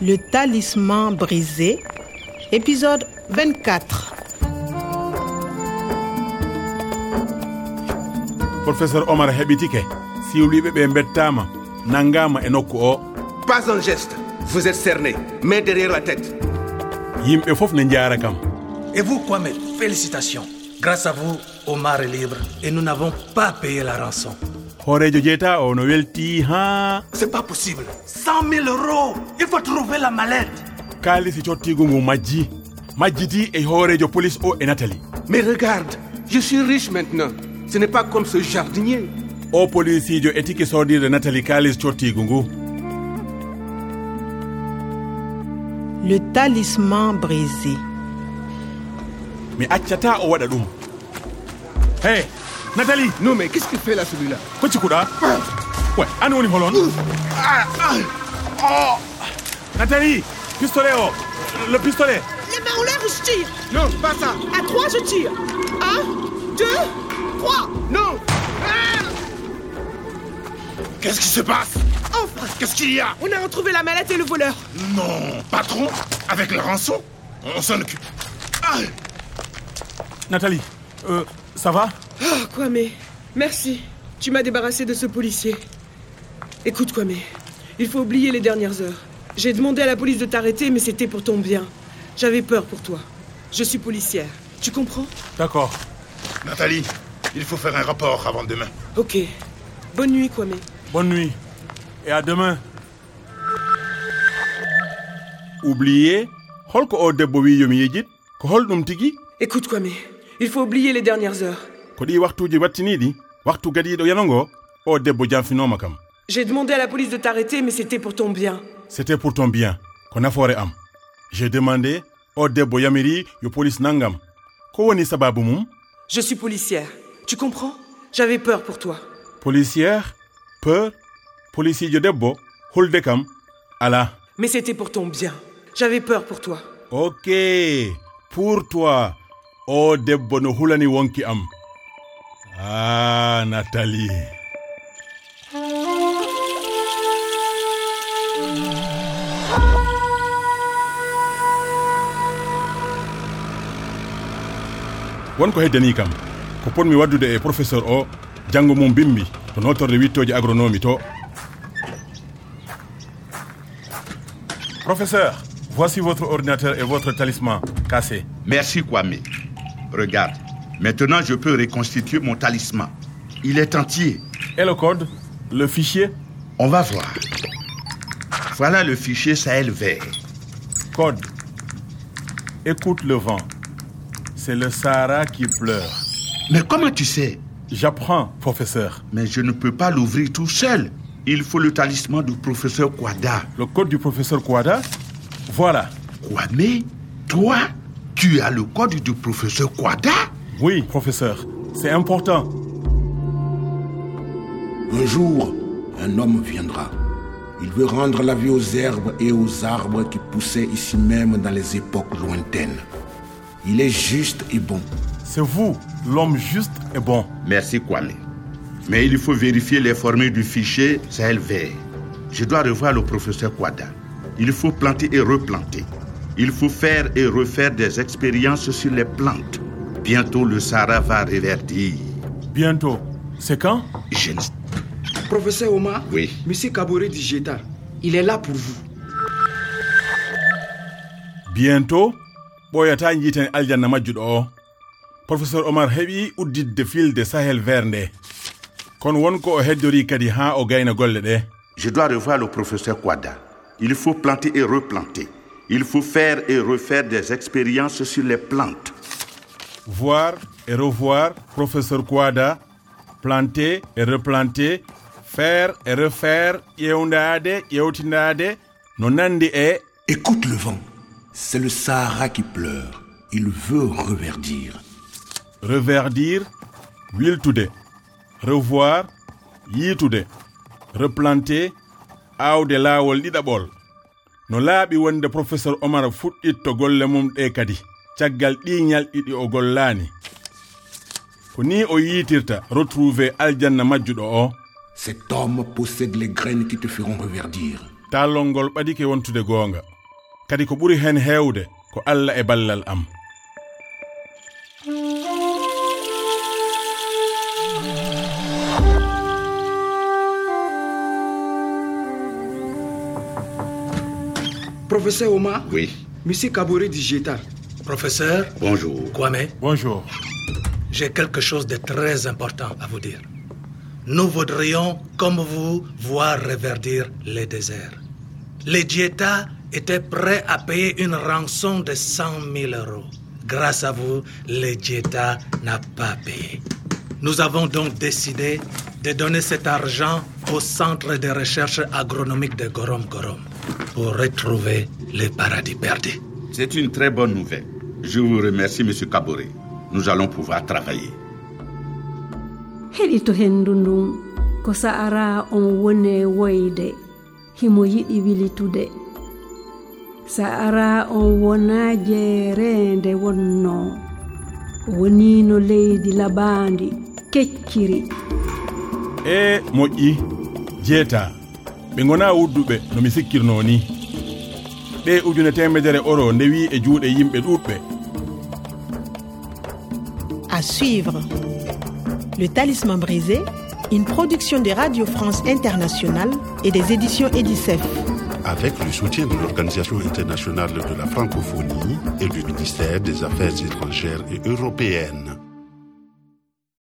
Le talisman brisé, épisode 24. professeur omar heɓitike siwliɓe ɓe bettama nangama e nokku o Pas un geste. Vous êtes cerné, mais derrière la tête. yimɓe foof ne jaara kam Et vous, Kwame, félicitations. Grâce à vous, Omar est libre et nous n'avons pas payé la rançon. hoorejo jeeta o no welti ha C'est pas possible. 100 000 euros Il faut trouver la mallette. kaalisi cottigu e ngu majji majjiti e hoorejo police o e natali Mais regarde, je suis riche maintenant. Ce n'est pas comme ce jardinier. o policijo e tiki soodirde natali kaalis cottigu ngu Le talisman brisé. mi accata o waɗa ɗum hey natali Non, mais qu'est-ce qu'il fait là, celui-là ko cikkuɗa ouais an woni holon Ah, ah. Oh. natali pistolet o le pistolet Les mains en l'air ou je tire Non, pas ça. À trois, je tire. Un, deux, trois. Non Qu'est-ce qui se passe Enfin, Qu'est-ce qu'il y a on a retrouvé la mallette et le voleur. Non, patron, avec la rançon On s'en occupe. Ah, natali euh, ça va Oh, Kwame, merci. Tu m'as débarrassé de ce policier. Écoute, Kwame, il faut oublier les dernières heures. J'ai demandé à la police de t'arrêter, mais c'était pour ton bien. J'avais peur pour toi. Je suis policière. Tu comprends d'accord Nathalie, il faut faire un rapport avant demain. Ok. Bonne nuit, Kwame. Bonne nuit et à demain. Oublié, holko o debbo wi yomi yejit ko holɗum tigi Écoute, Kwame, il faut oublier les dernières heures. ko ɗi waktuji wattiniɗi waktu gadiɗo yano ngo o debbo janfinoma kam J'ai demandé à la police de t'arrêter, mais c'était pour ton bien. c'était pour ton bien ko nafoore am j'ai demandé o debbo yamiri yo police nangam ko woni sababu mum Je suis policière. Tu comprends J'avais peur pour toi. policière peur policijo debbo hulde kam ala Mais c'était pour ton bien. J'avais peur pour toi. ok pour toi o debbo no hulani wonki am ah nathalie wonko heddani kam ko ponmi waddude e professeur o janngo mum bimmi to notorde wittoji agronomie to professeur voici votre ordinateur et votre talisman cassé Merci, Kwame. Regarde, maintenant je peux reconstituer mon talisman. Il est entier. et le code le fichier On va voir. Voilà le fichier Sahel vert. Code. Écoute le vent. C'est le Sahara qui pleure. Mais comment tu sais J'apprends, professeur. Mais je ne peux pas l'ouvrir tout seul. Il faut le talisman du professeur Kwada. Le code du professeur Kouada Voilà. Kwame, toi, tu as le code du professeur Kwada Oui, professeur. C'est important. Un jour, un homme viendra. Il veut rendre la vie aux herbes et aux arbres qui poussaient ici même dans les époques lointaines. Il est juste et bon. C'est vous, l'homme juste et bon. Merci Kwame. Mais il faut vérifier les formules du fichier Sahel vert. Je dois revoir le professeur Kwada. Il faut planter et replanter. Il faut faire et refaire des expériences sur les plantes. Bientôt le Sahara va reverdir. Bientôt. C'est quand Je ne- Professeur Omar, Oui. Monsieur Kabore Digeta, il est là pour vous. Bientôt. ɓoyata jiiten aljanna majjuɗo o professeur omar heɓi udditde filde sahel vert nde kono wonko o heddori kadi haa o gayna golle ɗe Je dois revoir le professeur Kwada. Il faut planter et replanter. Il faut faire et refaire des expériences sur les plantes. voir et revoir professeur Kouada, planter et replanter, faire et refaire, yeundade, yeutinade, no nandi e Écoute le vent. C'est le Sahara qui pleure. Il veut reverdir. reverdir, wiltude, revoir, yitude, replanter, awde laawol ɗiɗaɓol. No laaɓi wonde professeur Omar fuɗɗitto golle mum ɗe kadi, caggal ɗiñal ɗiɗi o gollaani. Ko ni o yiitirta retrouver aljanna majjuɗo o, Cet homme possède les graines qui te feront reverdir. taallol ngol ɓadike wontude goonga kadi ko ɓuri hen heewde ko allah e ballal am Professeur Oma, Oui, Monsieur Kabore du Gétar. Professeur bonjour. Kwame, bonjour j'ai quelque chose de très important à vous dire. Nous voudrions, comme vous, voir reverdir les déserts. Les Dieta étaient prêts à payer une rançon de 100 000 euros. Grâce à vous, les Dieta n'a pas payé. Nous avons donc décidé de donner cet argent au Centre de recherche agronomique de Gorom Gorom pour retrouver les paradis perdus. C'est une très bonne nouvelle. Je vous remercie, Monsieur Kabore. Nous allons pouvoir travailler. heɗito hendu ndun ko sa'ara on woni e woyde himo yiɗi wilitude sa'ara on wona jeerende wonno o wonino leydi labandi kecciri e moƴƴi jeeta ɓe gona wudduɓe no mi sikkirno ni ɗe ujune temedere oro ndewi e juuɗe yimɓe ɗuɗɓe À suivre. Le Talisman brisé, une production de Radio France Internationale et des éditions Edicef. avec le soutien de l'Organisation internationale de la francophonie et du ministère des Affaires étrangères et européennes.